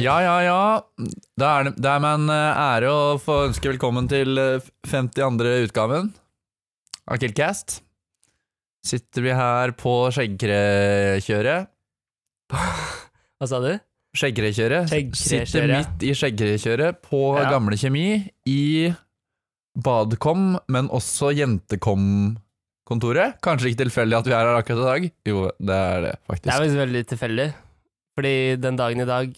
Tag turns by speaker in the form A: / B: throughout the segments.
A: Ja, ja, ja. Da er det, det er meg en eh, ære å få ønske velkommen til eh, 52. utgaven av Killcast. Sitter vi her på skjeggkrekjøret.
B: Hva sa du?
A: Skjeggkrekjøret.
B: Skjeggkrekjøret.
A: Sitter midt i skjeggkrekjøret på
B: Ja.
A: Gamle Kjemi i Badkom, men også Jentekom-kontoret. Kanskje ikke tilfeldig at vi er her akkurat i dag. Jo, det er det,
B: Det er
A: faktisk.
B: faktisk veldig tilfeldig. Fordi den dagen i dag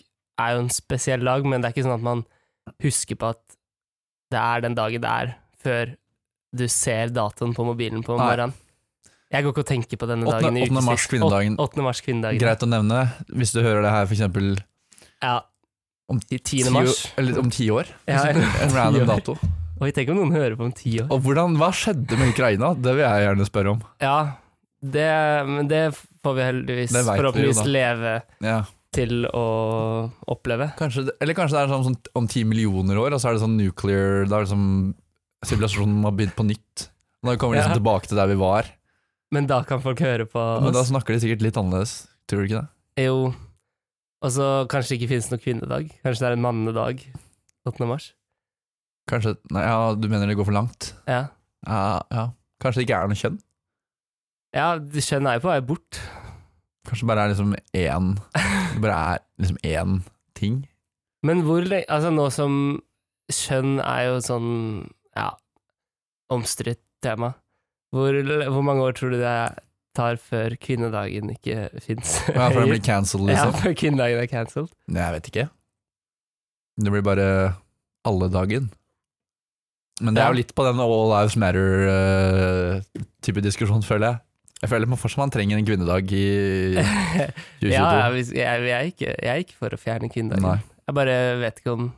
B: er jo en spesiell dag, men det er ikke sånn at man husker på at det er den dagen det er, før du ser datoen på mobilen på
A: Nei.
B: morgenen. Jeg går ikke og tenker på denne
A: Åttende-
B: dagen i
A: åttende
B: ukesvis.
A: mars, kvinnedagen.
B: Åt- åttende mars, kvinnedagen.
A: Greit å nevne, hvis du hører det her for eksempel
B: Ja.
A: Om
B: tiende
A: Ti,
B: mars.
A: eller om ti år.
B: Ja, eller om
A: en
B: ti
A: random
B: år.
A: dato.
B: Oi, tenk om noen hører på om ti år.
A: Og hvordan, Hva skjedde med Ukraina? Det vil jeg gjerne spørre om.
B: Ja, det, men det får vi heldigvis
A: Det vet vi jo
B: forhåpentligvis
A: da.
B: leve
A: Ja.
B: til å oppleve.
A: Kanskje, det- eller kanskje det er sånn, sånn om ti millioner år, og så er det sånn nuclear Da er det sånn sivilisasjonen har begynt på nytt. Og Da kommer vi liksom
B: Ja.
A: tilbake til der vi var.
B: Men da kan folk høre på
A: Men da
B: oss.
A: snakker de sikkert litt annerledes. Tror du ikke det?
B: Jo. Og så kanskje det ikke finnes noen kvinnedag. Kanskje det er en mannedag 8. mars.
A: Kanskje, nei, ja, Du mener det går for langt?
B: Ja.
A: Ja, ja. Kanskje det ikke er noe kjønn?
B: ja, de kjønn er jo på vei bort.
A: Kanskje det bare er liksom én Det bare er liksom én ting?
B: Men hvor lenge Altså, nå som kjønn er jo sånn Ja, omstridt tema. Hvor, le- hvor mange år tror du det tar før kvinnedagen ikke fins?
A: Ja, for den blir cancelled,
B: ja,
A: liksom?
B: før kvinnedagen er cancelled?
A: Nei, jeg vet ikke. Det blir bare alle dagen. Men det er jo
B: Ja.
A: litt på den All Lives Matter-type diskusjon, føler jeg. Jeg føler man fortsatt man trenger en kvinnedag i 2022.
B: Ja, jeg, jeg, jeg, er ikke, jeg er ikke for å fjerne kvinnedagen.
A: Nei,
B: Jeg bare vet ikke om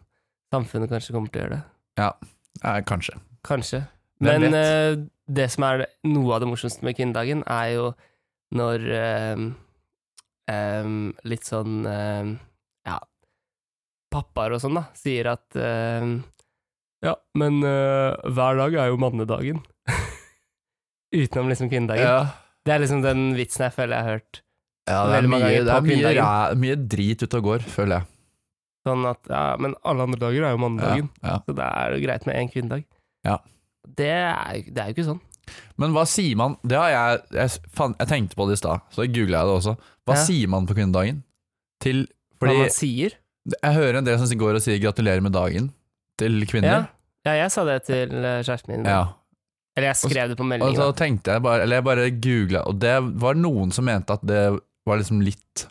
B: samfunnet kanskje kommer til å gjøre det.
A: eh, kanskje.
B: Kanskje.
A: Hvem
B: Men
A: vet?
B: eh, det som er noe av det morsomste med kvinnedagen, er jo når eh, em, litt sånn eh, ja, pappaer og sånn, da, sier at eh, ja, men eh, hver dag er jo mannedagen. Utenom liksom kvinnedagen.
A: Ja,
B: Det er liksom den vitsen jeg føler jeg har hørt.
A: ja, det er
B: Veldig mange
A: mye,
B: ganger
A: det
B: på
A: er mye,
B: kvinnedagen.
A: ræ- mye drit ute og går, føler jeg.
B: Sånn at ja, men alle andre dager er
A: Ja,
B: jo mannedagen,
A: ja.
B: så da er det greit med én kvinnedag.
A: Ja.
B: Det er, jo- det er jo ikke sånn.
A: Men hva sier man Det har jeg Jeg, fan, jeg tenkte på det i stad, så googla jeg det også. Hva
B: Ja.
A: sier man på kvinnedagen? Til Fordi
B: Hva man sier.
A: jeg hører en del som går og sier 'gratulerer med dagen' til kvinner.
B: Ja. ja, jeg sa det til eh, kjæresten min.
A: Ja,
B: Eller jeg skrev det på
A: og så
B: meldinga.
A: tenkte jeg bare Eller jeg bare googla, og det var noen som mente at det var liksom litt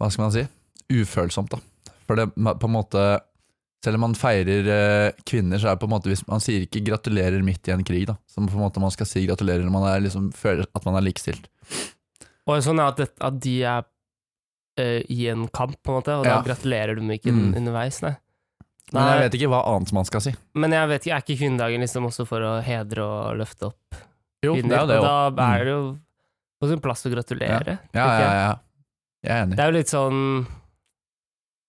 A: Hva skal man si? Ufølsomt, da. For det ma- på en måte Selv om man feirer eh, kvinner, så er det på en måte hvis Man sier ikke 'gratulerer' midt i en krig, da. Som på en måte man skal si 'gratulerer' når man er, liksom, føler at man er likestilt.
B: Og sånn er at, det, at de er eh, i en kamp, på en måte, og da
A: Ja.
B: gratulerer du dem ikke
A: Mm.
B: underveis, nei.
A: Men jeg
B: Nei.
A: vet ikke hva annet man skal si.
B: Men jeg vet ikke, er ikke kvinnedagen liksom også for å hedre og løfte opp
A: Jo, det er
B: kvinner?
A: jo det
B: og
A: òg.
B: da
A: Mm.
B: er det jo på sin plass å gratulere.
A: Ja,
B: tenker
A: ja,
B: jeg.
A: ja. Jeg er enig.
B: Det er jo litt sånn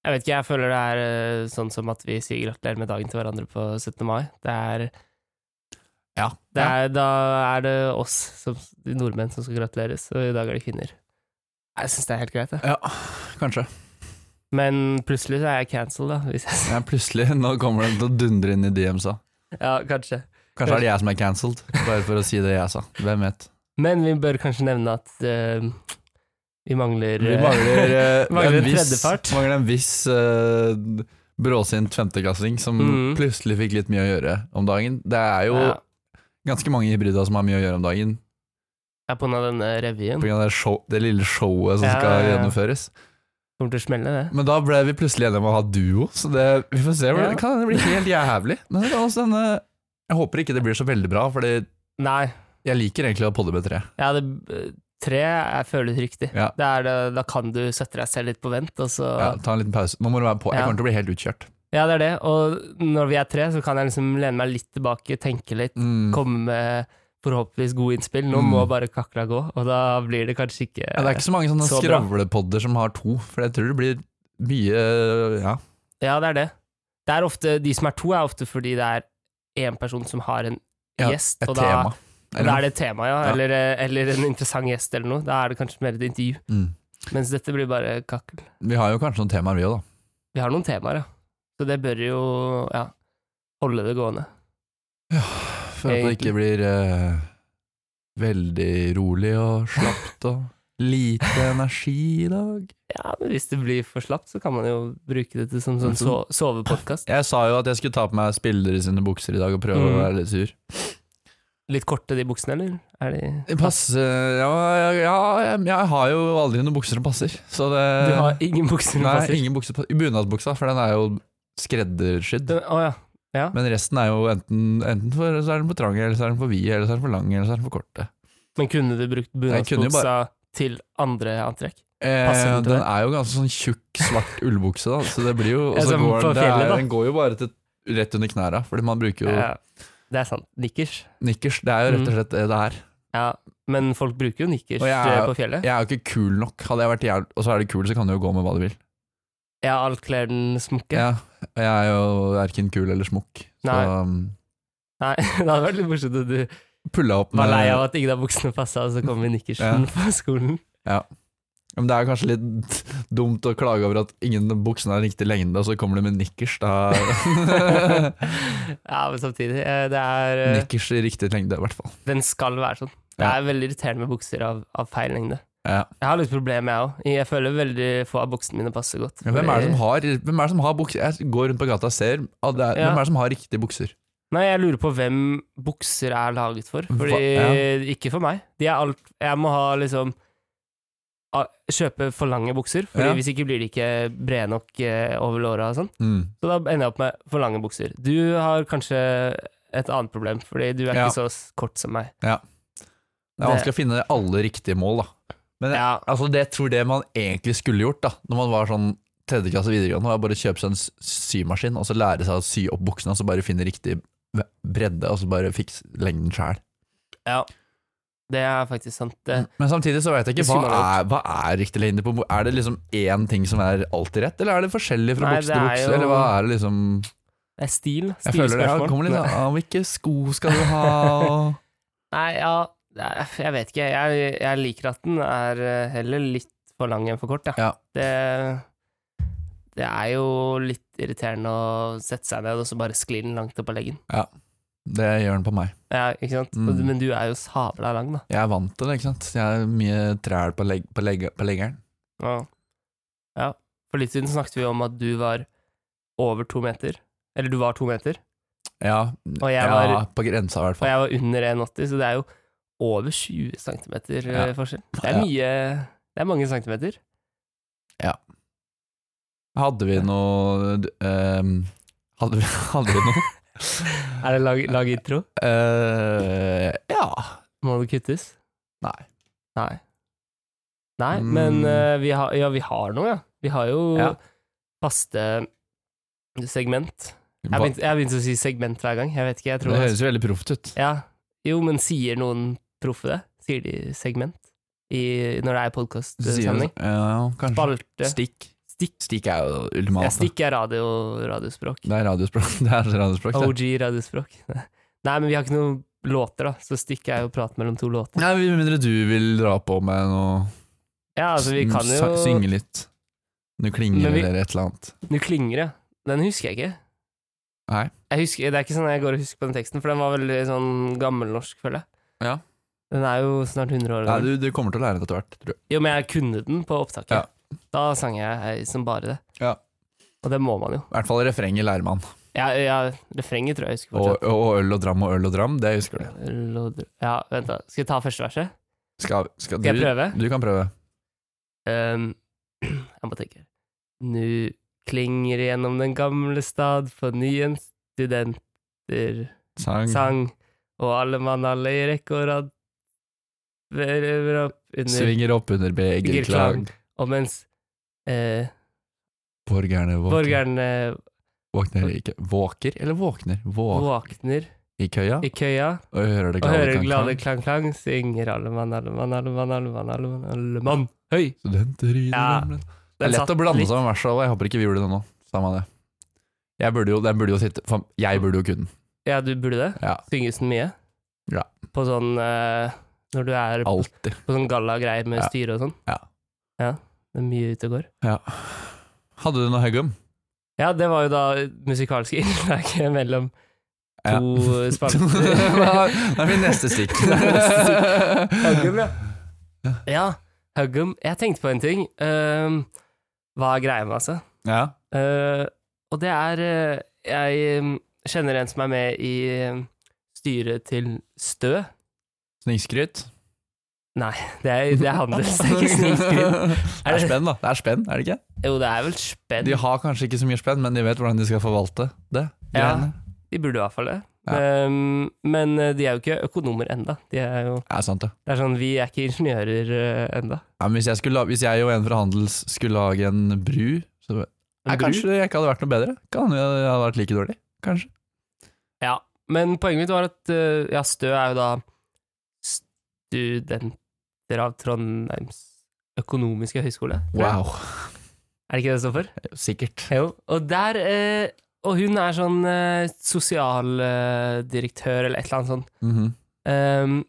B: Jeg vet ikke, jeg føler det er eh, sånn som at vi sier gratulerer med dagen til hverandre på 17. mai. Det er,
A: Ja.
B: det er, Da er det oss, som, de nordmenn, som skal gratuleres, og i dag er det kvinner. Jeg syns det er helt greit, jeg.
A: Ja, kanskje.
B: Men plutselig så er jeg cancelled, da. Hvis jeg,
A: Ja, plutselig, nå kommer det til å dundre inn i DM-sa.
B: ja, kanskje.
A: Kanskje er det jeg som er cancelled, bare for å si det jeg sa. Hvem vet.
B: Men vi bør kanskje nevne at eh, vi mangler
A: Vi
B: eh,
A: mangler, eh,
B: Mangler
A: en
B: en
A: viss,
B: tredjepart.
A: mangler en viss eh, bråsint femteklassing som
B: Mhm.
A: plutselig fikk litt mye å gjøre om dagen. Det er jo
B: ja,
A: ganske mange hybrida som har mye å gjøre om dagen
B: jeg er på grunn av denne revyen.
A: pga. Det, show, det lille showet som
B: Ja,
A: skal
B: ja, ja.
A: gjennomføres.
B: Kommer til å smelle, det.
A: Men da ble vi plutselig enige om å ha duo, så det, vi får se. hvordan
B: Ja.
A: Det kan hende det blir helt jævlig. Men det kan også hende Jeg håper ikke det blir så veldig bra, Fordi
B: Nei.
A: jeg liker egentlig å podde med tre.
B: Ja, det, tre er- føles riktig.
A: Ja.
B: Det er, det- da kan du sette deg selv litt på vent, og så
A: Ja,
B: ja.
A: ta en liten pause. Nå må du være på. Jeg
B: Ja.
A: kommer til å bli helt utkjørt.
B: det er det. Og når vi er tre, så kan jeg liksom lene meg litt tilbake, tenke litt,
A: Mm.
B: komme med forhåpentligvis gode innspill. Nå
A: Mm.
B: må bare kakla gå, og da blir det kanskje ikke
A: Ja, det er ikke så mange sånne
B: Så bra.
A: skravlepodder som har to, for jeg tror det blir mye Ja.
B: Ja, det er det. Det er ofte, de som er to, er ofte fordi det er én person som har en
A: Ja,
B: gjest,
A: Et
B: og da,
A: tema.
B: og da er det et tema, ja.
A: Ja.
B: Eller, eh, eller en interessant gjest eller noe. Da er det kanskje mer et intervju.
A: mm.
B: Mens dette blir bare kakkel.
A: Vi har jo kanskje noen temaer, vi òg, da.
B: Vi har noen temaer, ja. Så det bør jo ja, holde det gående.
A: Ja, for at det
B: Egentlig.
A: ikke blir eh, veldig rolig og slapt og lite energi i dag.
B: Ja, men hvis det blir for slapt, så kan man jo bruke det til som sånn so sovepodkast.
A: Jeg sa jo at jeg skulle ta på meg spillere sine bukser i dag og prøve
B: Mm.
A: å være litt sur.
B: Litt korte de buksene, eller? Er de
A: Passe ja, ja, ja, jeg, jeg har jo aldri noen bukser som passer. Så det
B: Du har ingen bukser som
A: Eh, Nei,
B: passer?
A: ingen bukser passer. Bunadsbuksa, for den er jo skreddersydd.
B: Den- Å ja. ja.
A: Men resten er jo enten, enten for, så er den for trang, eller så er den for vid, eller så er den for lang, eller så er den for kort.
B: Men kunne du brukt
A: Jeg kunne jo
B: bunadsbuksa til andre antrekk?
A: Eh,
B: Passer den til
A: den
B: deg?
A: er jo ganske sånn tjukk, svart ullbukse, da. Så det blir jo og
B: Ja,
A: så
B: som
A: går
B: på
A: den, det
B: fjellet,
A: er,
B: da.
A: den går jo bare til rett under knæra, fordi man bruker jo
B: Ja, Mm. det er sant. Nikkers.
A: nikkers. Det er jo rett og slett det det er.
B: Ja, men folk bruker jo nikkers
A: Og jeg
B: eh,
A: er-
B: på fjellet.
A: Jeg er jo ikke kul nok. Hadde jeg vært jævl... Og så er du kul, så kan du jo gå med hva du vil.
B: Ja, alt kler den smukke.
A: Ja, og jeg er jo verken kul eller smukk. Så um,
B: Nei. Nei, det hadde vært litt morsomt at du
A: pulla opp
B: var
A: med
B: lei av at ingen av buksene passa, og så kom vi i nikkersen på skolen.
A: Men det er kanskje litt dumt å klage over at ingen av buksene har riktig lengde, og så kommer du med nikkers. Da
B: ja, men samtidig, eh, det er eh,
A: Nikkers i riktig lengde, i hvert fall.
B: Den skal være sånn. Det
A: Ja.
B: er veldig irriterende med bukser av, av feil lengde.
A: Ja.
B: Jeg har litt problemer, jeg òg. Jeg føler veldig få av buksene mine passer godt.
A: Men hvem er det som har, hvem er det som har bukser? Jeg går rundt på gata og ser. ah, det er,
B: Ja.
A: Hvem er det som har riktige bukser?
B: Nei, jeg lurer på hvem bukser er laget for. Fordi
A: Hva-
B: Ikke for meg. De er alt Jeg må ha liksom a- Kjøpe for lange bukser, Fordi
A: Ja.
B: hvis ikke blir de ikke brede nok eh, over låra og sånn.
A: Mm.
B: Så da ender jeg opp med for lange bukser. Du har kanskje et annet problem, fordi du er
A: Ja.
B: ikke så s- kort som meg.
A: Det er vanskelig å finne alle riktige mål, da. Men jeg,
B: Ja,
A: altså, det jeg tror det man egentlig skulle gjort, da, når man var sånn tredje klasse videregående, var bare å kjøpe seg en s- symaskin, og så lære seg å sy opp buksene, og så bare finne riktig bredde, og så bare fikse lengden sjæl.
B: ja. Det er faktisk sant. Det,
A: Men samtidig så veit jeg
B: Det
A: ikke, hva
B: skulle man
A: er, hva er riktig lengde på bu- Er det liksom én ting som er alltid rett, eller er det forskjellig fra
B: Nei,
A: bukse
B: det
A: til
B: er
A: bukse,
B: jo-
A: eller hva er det liksom
B: det er stil.
A: Jeg føler det
B: Stilspørsmål.
A: ja, kommer litt sånn. an på hvilke sko skal du ha, og
B: Nei, ja det er- Jeg vet ikke. Jeg, jeg liker at den er eh, heller litt for lang enn for kort, ja.
A: Ja.
B: Det, det er jo litt irriterende å sette seg ned, og så bare sklir den langt opp av leggen.
A: Det gjør den på meg.
B: Ja, ikke sant?
A: Mm.
B: Og- Men du er jo sabla lang, da.
A: Jeg er vant til det, ikke sant. Jeg er mye træl på, legg, på, legg, på leggeren.
B: Ja. ja. For litt siden snakket vi om at du var over to meter. Eller du var to meter,
A: Ja,
B: og jeg,
A: ja
B: var,
A: på grensa i hvert
B: og
A: fall.
B: jeg var under 1,80, så det er jo over 20 cm
A: Ja.
B: forskjell. Det er
A: Ja.
B: mye Det er mange centimeter.
A: Hadde vi noe ehm, hadde, vi, hadde vi noe?
B: Er det lag, lag intro?
A: Eh, ja.
B: Må det kuttes?
A: Nei.
B: Nei, Nei
A: Mm.
B: men eh, vi, har, ja, vi har noe, ja. Vi har jo
A: Ja.
B: faste segment. Jeg
A: Hva,
B: begynte, jeg begynte å si segment hver gang. Jeg vet ikke, jeg tror
A: det høres jo veldig proft ut.
B: ja. Jo, men sier noen proffe det? Sier de segment i, når det er
A: Sier du-
B: podkastsammenheng?
A: Ja, kanskje.
B: Spalte.
A: Stikk.
B: Stikk.
A: Stikk er jo
B: Ja,
A: ultimat. da.
B: stikk er radio, radiospråk.
A: Det er radiospråk. Det er radiospråk det.
B: OG radiospråk. Nei, men vi har ikke noen låter, da, så stikk er jo prat mellom to låter.
A: Nei, Med mindre du vil dra på med noe,
B: Ja, altså, vi kan
A: sy-
B: jo
A: synge litt. Du klinger
B: Men vi-
A: eller et eller annet.
B: Nå klinger det. Den husker jeg ikke.
A: Nei.
B: Jeg husker, det er ikke sånn jeg går og husker på den teksten, for den var veldig sånn gammelnorsk, føler jeg.
A: Ja.
B: Den er jo snart 100
A: Nei,
B: år gammel.
A: du, du kommer til å lære det etter hvert, tror jeg.
B: Jo, men jeg kunne den på opptaket. Da sang jeg hei som bare det.
A: Ja.
B: Og det må man jo.
A: I hvert fall refrenget lærer man.
B: Jeg, jeg, refrenget tror jeg jeg husker
A: Og,
B: fortsatt.
A: og øl og dram og øl og dram, det husker du.
B: Lodr- Ja, vent da. Skal jeg ta første verset?
A: Skal, skal,
B: Skal jeg
A: du,
B: prøve?
A: du kan prøve.
B: Ehm, jeg må tenke. Nu klinger gjennom den gamle stad for nyen studenter.
A: Sang.
B: sang, og alle mann alle i rekke og rad verer opp under,
A: Svinger opp under begerklang.
B: Begerklang. og mens eh,
A: Borgerne våkner.
B: borgerne
A: våkner ikke. Våker eller våkner? Våk
B: våkner
A: i køya
B: i køya
A: og hører det
B: og hører
A: glade
B: glade
A: klang-klang.
B: klang-klang, synger alle mann, alle mann, alle mann, alle mann, alle mann, alle mann. Høy!
A: Studenter i det
B: Ja.
A: gamle- Det
B: Den
A: er lett
B: satt
A: å blande
B: litt.
A: sammen versa, og jeg håper ikke vi gjorde det nå. Samme det. Jeg burde jo, den burde jo sitte faen, Jeg burde jo kunne den.
B: Ja, du burde det.
A: Ja,
B: Synges den mye?
A: Ja.
B: På sånn eh, Når du er på,
A: alltid.
B: på sånn galla-greier med
A: Ja.
B: styre og sånn?
A: Ja.
B: ja. Det er mye ute og går.
A: Ja. Hadde du noe høggum?
B: Ja, det var jo da musikalske innslag mellom
A: Ja.
B: to spalter.
A: det er min neste stikk.
B: Huggum, ja. Ja, Huggum. Jeg tenkte på en ting. Ehm, hva er greia med, altså?
A: ja.
B: Eh, og det er eh, Jeg eh, kjenner en som er med i eh, styret til Stø.
A: Snikskryt.
B: Det er, det er handels, det er ikke snikskryt.
A: Det er spenn, da. Det er spenn, er det ikke?
B: Jo, det er vel spenn.
A: De har kanskje ikke så mye spenn, men de vet hvordan de skal forvalte det.
B: Ja.
A: greiene.
B: De burde i hvert fall det.
A: Ja.
B: Ehm, men eh, de er jo ikke økonomer enda. De er jo,
A: Ja, sant det.
B: det er sånn, vi er ikke ingeniører eh, enda.
A: Ja, men hvis, jeg skulle, la- hvis jeg og en fra Handels skulle lage en bru, så
B: En
A: Nei,
B: bru.
A: Kanskje jeg ikke hadde vært noe bedre. Kan jeg jeg hadde vært like dårlig, kanskje.
B: Ja, men poenget mitt var at eh, ja, Stø er jo da studenter av Trondheims økonomiske høyskole. tror jeg. Er det ikke det det står for?
A: Sikkert.
B: Jo, og der eh, Og hun er sånn eh, sosialdirektør eller et eller annet sånt.
A: Mhm.
B: Ehm,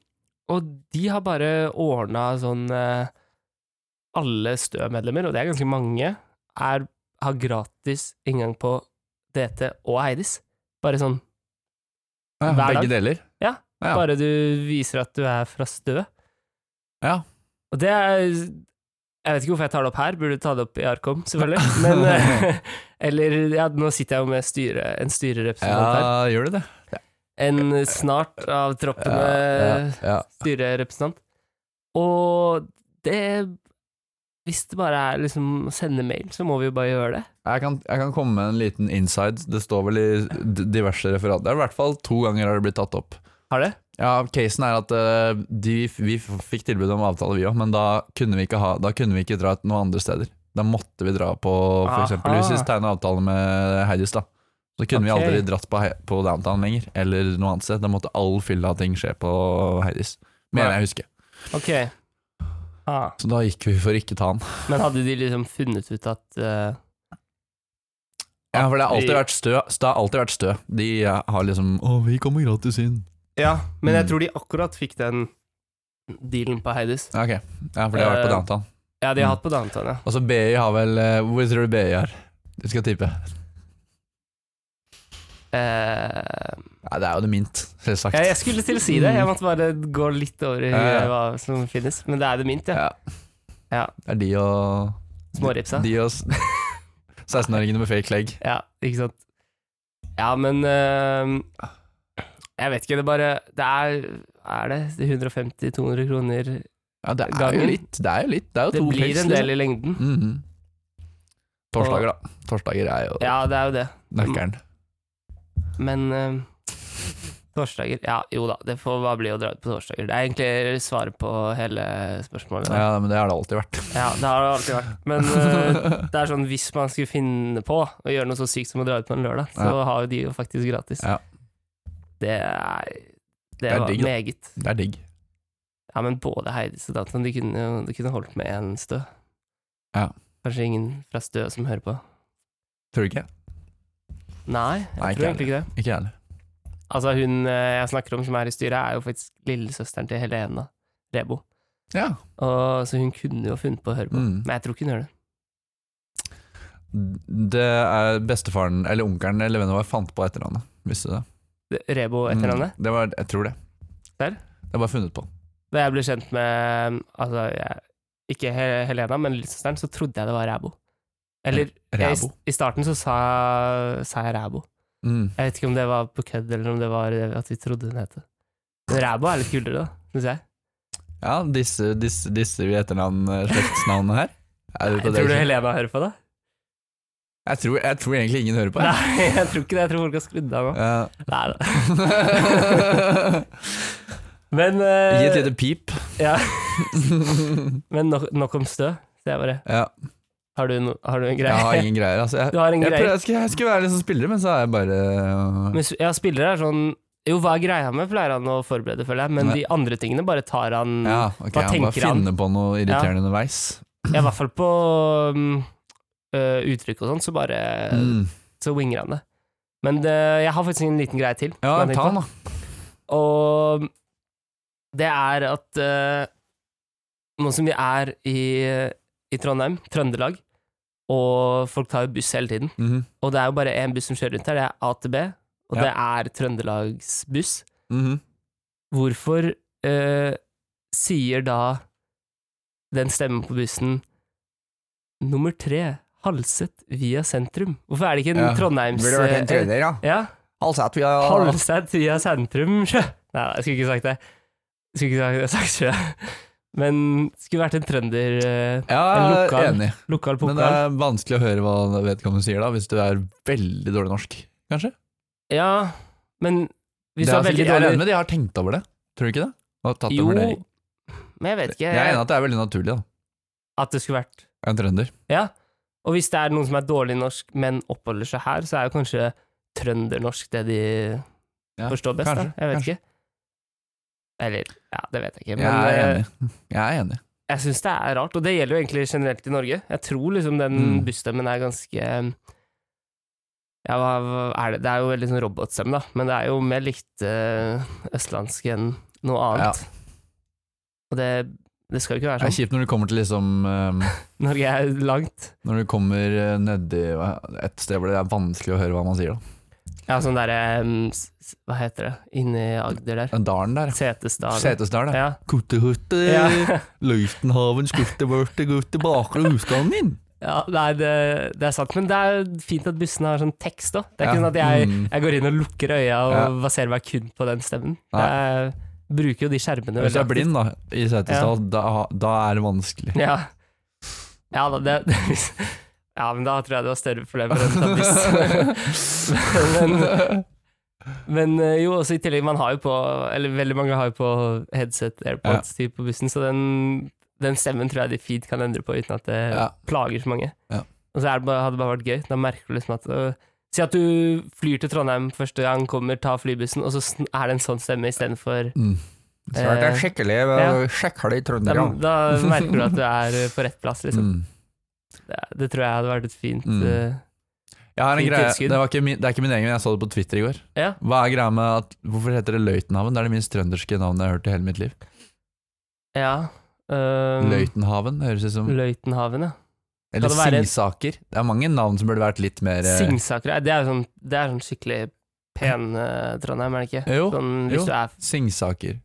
B: og de har bare ordna sånn eh, Alle Stø-medlemmer, og det er ganske mange, er, har gratis inngang på DT og Eidis. Bare sånn
A: ja,
B: Hver dag.
A: begge deler.
B: Ja,
A: ja.
B: Bare du viser at du er fra Stø.
A: Ja.
B: Og det er Jeg vet ikke hvorfor jeg tar det opp her, burde ta det opp i Arkom, selvfølgelig. Men eh, Eller ja, nå sitter jeg jo med styre, en styrerepresentant her.
A: ja gjør du det?
B: En snart av troppene eh,
A: ja.
B: styrerepresentant. Og det Hvis det bare er liksom å sende mail, så må vi jo bare gjøre det.
A: Jeg, kan, jeg kan komme med en liten inside. Det står vel i d- diverse referater. Det er i hvert fall to ganger har det blitt tatt opp.
B: Har det?
A: Ja, Casen er at eh, de, vi f- fikk tilbud om avtale, vi òg, men da kunne vi ikke, ha, da kunne vi ikke dra til noen andre steder. Da måtte vi dra på
B: Aha.
A: f.eks. Husis, tegne avtale med Heidis. da Så kunne vi
B: Ok.
A: aldri dratt på, Hei- på downtown lenger, eller noe annet sted. Da måtte all fylla ting skje på Heidis. Mener
B: Ja.
A: jeg husker.
B: Ok. Ah,
A: Så da gikk vi for ikke ta den.
B: men hadde de liksom funnet ut at eh,
A: Ja, for det har alltid
B: Vi-
A: vært stø. Det har alltid vært stø. De eh, har liksom 'Å, vi kommer gratis inn'.
B: Ja, men jeg
A: Mm.
B: tror de akkurat fikk den dealen på Heidis.
A: Ja, Ok, ja, for det har vært på
B: Eh.
A: downtown.
B: Ja, de
A: Mm.
B: har hatt på Downtown, ja.
A: Og så BI har vel eh, Hvor tror du BI er? Du skal tippe.
B: Eh,
A: Nei, det er jo det mint, selvsagt.
B: ja, jeg skulle til å si det, jeg måtte bare gå litt over i
A: Mm. Ja, ja.
B: hva som finnes. Men det er det mint, ja.
A: Mm. Ja.
B: Ja.
A: Det er de og
B: Småripsa.
A: De og s- 16-åringene med fake leg.
B: Ja, ikke sant. Ja, men eh, Jeg vet ikke, det bare Det er, er det 150-200 kroner
A: Ja, det er jo
B: Gangen.
A: litt. Det er jo litt. Det er jo
B: Det
A: to
B: blir
A: pils,
B: en del i lengden.
A: liksom. Mhm. Torsdager, da. Torsdager er jo
B: Ja, det er jo det.
A: nøkkelen.
B: Men eh, torsdager Ja, jo da, det får bare bli å dra ut på torsdager. Det er egentlig svaret på hele spørsmålet. der.
A: Ja, men det har det alltid vært.
B: Mm. Ja, det har det alltid vært. Men eh, det er sånn hvis man skulle finne på å gjøre noe så sykt som å dra ut på en lørdag, så har jo de jo faktisk gratis.
A: Ja.
B: Det er Det,
A: er
B: var
A: digg, da.
B: meget.
A: det er digg.
B: Ja, men både Heidis og Datan, de kunne jo de kunne holdt med én stø.
A: Ja.
B: Kanskje ingen fra Stø som hører på.
A: Tror du ikke?
B: Nei, jeg
A: Nei, ikke
B: tror egentlig ikke det.
A: Ikke jeg heller.
B: Altså, hun eh, jeg snakker om som er i styret, er jo faktisk lillesøsteren til Helena Rebo.
A: Ja.
B: Og, så hun kunne jo funnet på å høre på.
A: Mm.
B: Men jeg tror ikke hun gjør det.
A: Det er bestefaren eller onkelen eller hvem det var fant på etternavnet. Visste du det?
B: Det- Rebo etter henne.
A: Mm, Det var, jeg tror det.
B: Der?
A: Det er bare funnet på.
B: Da jeg ble kjent med altså, jeg, ikke He- Helena, men lillesøsteren, så trodde jeg det var Ræbo. Eller jeg,
A: Ræbo.
B: i starten så sa, sa jeg Ræbo.
A: Mm.
B: Jeg vet ikke om det var på kødd, eller om det var at vi trodde hun het det. Men Ræbo er litt kulere, da, syns jeg.
A: Ja, disse, disse, disse vi etternavn, eh, slektsnavnene her. Er vi på
B: jeg
A: det?
B: tror du Helena hører på det?
A: jeg, tror, jeg tror egentlig ingen hører på. jeg.
B: Nei, jeg tror ikke det. Jeg tror folk har skrudd av nå.
A: Ja.
B: Nei da. Men, eh,
A: Gi et lite pip.
B: ja. Men nok, nok om stø. Så jeg bare,
A: ja,
B: har du, no, har du en greie?
A: jeg har ingen greier, altså. Jeg,
B: Du har en
A: jeg,
B: greie?
A: prøver, jeg, skulle, jeg skulle være liksom spillere, men så er jeg bare
B: Men s- ja, spillere er sånn Jo, hva er greia med, pleier han å forberede, føler jeg. Men
A: Nei.
B: de andre tingene bare tar han
A: Ja, ok,
B: hva
A: jeg må
B: tenker han?
A: finne på noe irriterende underveis.
B: ja, I hvert fall på mm, ø, uttrykk og sånn, så bare
A: Mm.
B: Så winger han det. Men det, jeg har faktisk en liten greie til.
A: Ja,
B: som jeg
A: ta
B: tenkte
A: den,
B: på.
A: da.
B: Og det er at eh, nå som vi er i, i Trondheim, Trøndelag, og folk tar jo buss hele tiden.
A: Mhm.
B: Og det er jo bare én buss som kjører rundt her, det er A til B, og
A: Ja.
B: det er Trøndelagsbuss.
A: Mhm.
B: Hvorfor eh, sier da den stemmen på bussen nummer tre, halset via sentrum? Hvorfor er det ikke en
A: Ja,
B: Trondheims...
C: Burde vært en
B: eh,
C: trønder, ja.
B: Ja,
C: Halseth, vi
A: Ah.
C: har
B: halset via sentrum, sjø. Nei, jeg skulle ikke sagt det. Jeg skulle ikke sagt, sagt sjø. Men skulle vært en trønder eh,
A: Ja,
B: En
A: jeg er
B: lokal.
A: enig.
B: lokal
A: Men eh, det
B: pokal.
A: er vanskelig å høre hva vedkommende sier da, hvis du er veldig dårlig norsk, kanskje?
B: Ja, men
A: Det
B: hvis du
A: er
B: er
A: sikkert-
B: veldig
A: jeg regner
B: dårlig
A: med de har tenkt over det. Tror du ikke det? Og tatt en
B: Jo,
A: vurdering.
B: men jeg vet ikke.
A: Jeg er enig i at det er veldig naturlig, da.
B: At det skulle vært
A: En trønder.
B: Ja, og hvis det er noen som er dårlig i norsk, men oppholder seg her, så er jo kanskje trøndernorsk det de
A: Ja,
B: forstår best,
A: kanskje,
B: da. Jeg vet
A: kanskje.
B: ikke. Eller, ja, det vet jeg ikke, men
A: Jeg er
B: eh,
A: enig. Jeg er enig.
B: jeg syns det er rart, og det gjelder jo egentlig generelt i Norge. Jeg tror liksom den
A: Mm.
B: busstemmen er ganske ja, hva hva er det? det er jo veldig sånn robotstemme, da, men det er jo mer likt eh, østlandsk enn noe annet. Og det, det skal jo ikke
A: Det
B: være
A: er
B: sånn.
A: kjipt når du kommer til liksom ehm,
B: Norge er langt.
A: Når du kommer eh, nedi eh, et sted hvor det er vanskelig å høre hva man sier, da.
B: Ja, sånn derre Hva heter det? Inni Agder der.
A: Den dalen der.
B: Setesdal.
A: Setesdal, det.
B: Ja.
A: Kuttehutte,
B: Ja.
A: Uh. Løitenhaven, skuttebørte, gutte, bakre utgangen.
B: ja, nei, det, det er sant. Men det er fint at bussene har sånn tekst òg. Det er ikke sånn at jeg,
A: Mm.
B: jeg går inn og lukker øya og
A: Ja.
B: baserer meg kun på den stemmen.
A: Nei.
B: Jeg bruker jo de skjermene.
A: Hvis du
B: veldig
A: er blind da, i Setesdal, da, da er det vanskelig.
B: aktivt. Ja, ja da, det, ja, men da tror jeg det var større problemer enn å ta buss. men, men eh, jo, også i tillegg, man har jo på Eller veldig mange har jo på headset airpods typ på bussen, så den, den stemmen tror jeg de fint kan endre på uten at det
A: Ja.
B: plager så mange.
A: Ja.
B: Og så er det bare, hadde det bare vært gøy. Da merker du liksom at øh, Si at du flyr til Trondheim første gang, kommer, tar flybussen, og så sn- er det en sånn stemme istedenfor
A: Mm.
C: Så har vært en skikkelig
B: Eh, Ja.
C: sjekkhall i
B: da,
C: trønder, ja.
B: da merker du at du er eh, på rett plass, liksom.
A: Mm.
B: Det, det tror jeg hadde vært et fint
A: Mm.
B: eh,
A: Jeg har en
B: Fint
A: greie,
B: tilskudd.
A: det, var ikke min, det er ikke min egen, men jeg så det på Twitter i går.
B: Ja.
A: Hva er greia med at, Hvorfor heter det Løitenhaven? Det er det minst trønderske navnet jeg har hørt i hele mitt liv.
B: Ja. Um,
A: Løitenhaven høres ut som
B: Løitenhaven, ja.
A: Eller
B: det være-
A: Singsaker. Det er mange navn som burde vært litt mer eh,
B: Singsaker eh, Det er jo sånn, det er sånn skikkelig pen eh, Trondheim, er det ikke?
A: Jo,
B: sånn, hvis
A: jo.
B: du er
A: Singsaker.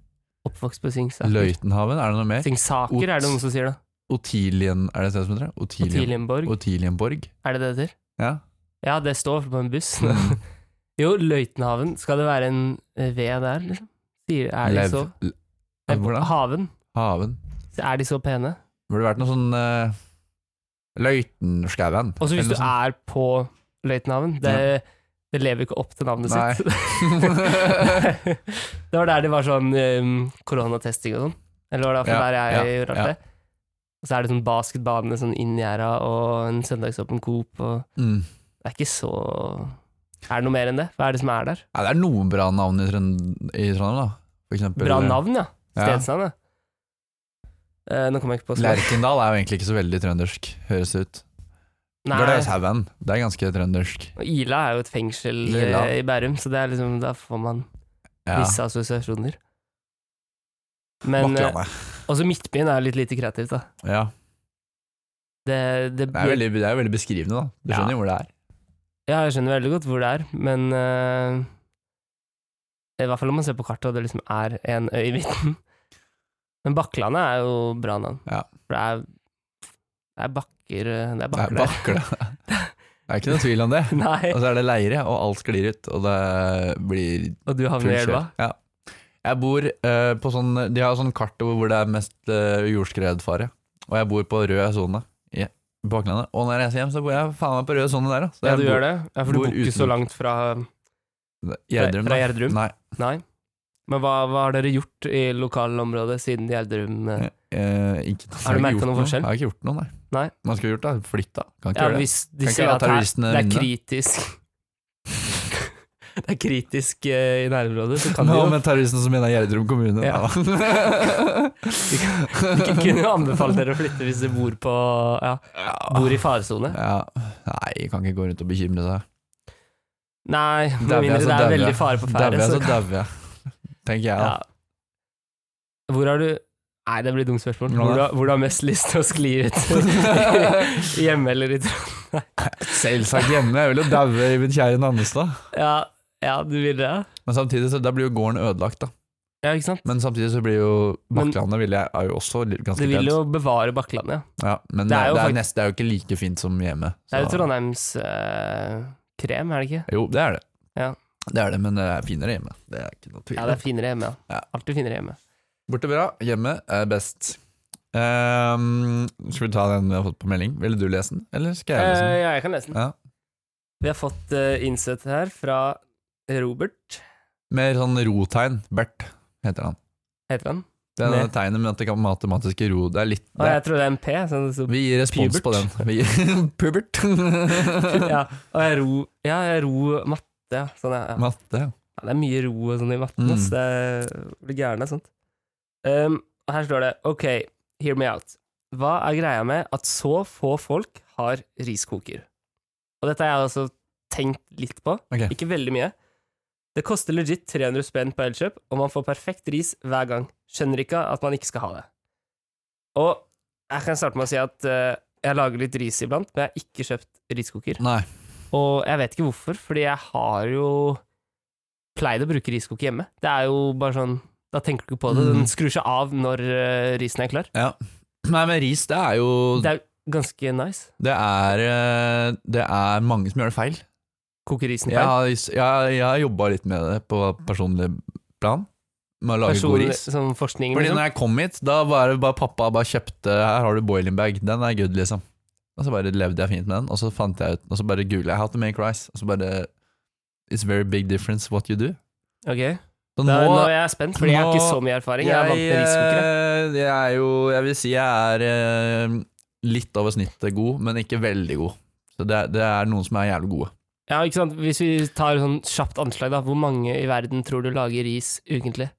B: oppvokst på Singsaker.
A: Løitenhaven, er det noe mer?
B: Singsaker er det noen som sier, da.
A: Otilien Er det et sted som heter det? Otilien.
B: Otilienborg,
A: Otilienborg.
B: er det det det heter?
A: Ja.
B: Ja, det står på en buss.
A: Mm.
B: jo, Løitenhaven. Skal det være en eh, V der, liksom? Sier, er de
A: Lev-
B: så
A: l-
B: Nei,
A: Hvordan?
B: Haven.
A: Haven.
B: Er de så pene?
A: Burde vært noe sånn uh, Løitenskauen.
B: Og så hvis du
A: eller sånn- noe
B: er på Løitenhaven det, det lever ikke opp til navnet
A: Nei.
B: sitt. det var der det var sånn um, koronatesting og sånn. Eller var det
A: Ja,
B: iallfall der jeg
A: ja,
B: rart
A: ja.
B: det. Og så er det sånn basketbane sånn inn i gjerda, og en søndagsåpen Coop, og
A: Mm.
B: det er ikke så Er det noe mer enn det? Hva er det som er der?
A: Nei, det er noen bra navn i, Trønd i Trondheim, da. For eksempel eh,
B: Bra navn, ja.
A: Ja.
B: Stedsnavn, ja. Eh, nå kommer jeg ikke på svar.
A: Lerkendal er jo egentlig ikke så veldig trøndersk, høres det ut.
B: Nei,
A: Gløshaugen, det er ganske trøndersk.
B: og Ila er jo et fengsel eh,
A: Ila.
B: i Bærum, så det er liksom, da får man
A: Ja.
B: visse assosiasjoner. Men eh,
A: Bakklandet.
B: også Midtbyen er jo litt lite kreativt, da.
A: Ja.
B: Det, det,
A: Det, er veldig, det er jo veldig beskrivende, da. Du
B: Ja.
A: skjønner jo hvor det er.
B: Ja, jeg skjønner veldig godt hvor det er, men eh, I hvert fall om man ser på kartet, og det liksom er en øy i midten. Men Bakklandet er jo bra navn.
A: Ja.
B: For det er, det er bakker eh, Det er
A: Det er
B: bakker der.
A: Bakle. Det er ikke noe tvil om det.
B: Nei,
A: Og så er det leire, og alt sklir ut, og det blir
B: og du havner i
A: Full
B: elva?
A: kjør. Ja. Jeg bor eh, på sånn De har sånn kart over hvor det er mest eh, jordskredfare. Og jeg bor på rød sone i baklandet. Og når jeg reiser hjem, så bor jeg faen meg på rød sone der. da. Så
B: Ja,
A: jeg
B: du
A: bor-
B: gjør det? Ja, for du
A: bor
B: bor ikke så
A: uten-
B: langt fra,
A: Gjerdrum,
B: fra
A: da.
B: Gjerdrum?
A: Nei.
B: Nei. Men hva, hva har dere gjort i lokalområdet siden Gjerdrum? eh?
A: Eh, ikke,
B: Har du
A: jeg
B: merket
A: gjort
B: noen forskjell?
A: Jeg har ikke gjort noe, nei.
B: Nei.
A: Man skulle gjort det. Flytta. Kan ikke
B: Ja,
A: gjøre det.
B: hvis de
A: Kan ikke
B: ser
A: la
B: at her,
A: terroristene
B: det er
A: vinne.
B: kritisk Det er kritisk eh, i nærområdet, så kan
A: Nå,
B: de jo
A: men terroristen som mener Gjerdrum kommune.
B: Ja.
A: da.
B: Vi kunne jo anbefalt dere å flytte hvis dere bor på ja, Bor i faresone.
A: ja. Nei, jeg kan ikke gå rundt og bekymre seg.
B: Nei,
A: Dauer
B: med
A: jeg,
B: mindre
A: så
B: det
A: dauer
B: er
A: jeg.
B: veldig fare på
A: Dauer
B: ferde,
A: jeg,
B: så
A: så dauer jeg. Tenker jeg, da.
B: ja. Hvor har du Nei, det blir et dumt spørsmål.
A: Ja.
B: Hvor du, har- hvor du har mest lyst til å skli ut? Hjemme eller i Trondheim?
A: Selvsagt hjemme. Jeg vil jo daue i min kjære Nannestad.
B: Ja, ja, du vil det? ja?
A: Men samtidig så, da blir jo gården ødelagt, da.
B: Ja, ikke sant?
A: Men samtidig så blir jo
B: Men-
A: Bakklandet vil jeg, er jo også li- ganske
B: Du vil
A: pent.
B: jo bevare Bakklandet. ja.
A: Ja, men
B: Det
A: det
B: er
A: er,
B: jo
A: det,
B: fakt-
A: er nest, det er jo ikke like fint som hjemme.
B: Det er jo
A: så-
B: Trondheims eh, krem, er det ikke?
A: Jo, det er det.
B: Ja.
A: Det er det, men det er finere hjemme. Det er ikke noe tvil.
B: Ja, det er finere hjemme, ja.
A: Ja.
B: Alltid finere hjemme.
A: Borte bra, hjemme er best. Ehm, skal vi ta den vi har fått på melding? Ville du lese den, eller skal jeg lese
B: Eh,
A: den?
B: ja, jeg kan lese den.
A: Ja.
B: Vi har fått eh, innsett her fra Robert,
A: Med sånn rotegn. Bert heter han.
B: heter han.
A: Det er
B: Med-
A: det tegnet med at det kan matematiske ro. Det er litt
B: Å,
A: det er-
B: jeg tror det er en P. Sånn, så,
A: Vi gir respons
B: Pubert.
A: på den. Vi gir, pubert.
B: ja, og jeg ro, ja, jeg ro matte, ja. Sånn, ja, ja.
A: Matte. ja.
B: Ja, det er mye ro og sånn i matten,
A: Mm.
B: ass. Det er- blir gæren av sånt. Um, og her står det OK, hear me out. Hva er greia med at så få folk har riskoker? Og dette har jeg altså tenkt litt på.
A: Ok.
B: Ikke veldig mye. Det koster legit 300 spenn på Elkjøp, og man får perfekt ris hver gang. Skjønner ikke at man ikke skal ha det. Og jeg kan starte med å si at eh, jeg lager litt ris iblant, men jeg har ikke kjøpt riskoker.
A: Nei.
B: Og jeg vet ikke hvorfor, fordi jeg har jo pleid å bruke riskoker hjemme. Det er jo bare sånn Da tenker du ikke på det. Den
A: Mm.
B: skrur seg av når eh, risen er klar.
A: Nei, men ris, det er jo
B: Det er ganske nice.
A: Det er, eh, det er mange som gjør det feil.
B: Koke risen
A: Jeg
B: feil.
A: har, jeg, jeg har jobba litt med det på personlig plan, med å lage god
B: Personlig-
A: ris.
B: Sånn forskning,
A: Fordi
B: liksom.
A: når jeg kom hit, da var det bare pappa bare kjøpte Her har du boiling bag, den er good, liksom. Og så bare levde jeg fint med den, og så fant jeg ut Og så bare googla jeg how to make rice, og så bare It's very big difference what you do.
B: Ok.
A: Så
B: Da,
A: nå,
B: nå er jeg spent, fordi jeg har ikke
A: nå-
B: så mye erfaring. Jeg
A: jeg,
B: er vant med riskokere.
A: eh, jeg er jo Jeg vil si jeg er eh, litt over snittet god, men ikke veldig god. Så det, er- det er noen som er jævlig gode.
B: Ja, ikke sant? Hvis vi tar sånn kjapt anslag, da. Hvor mange i verden tror du lager ris ukentlig?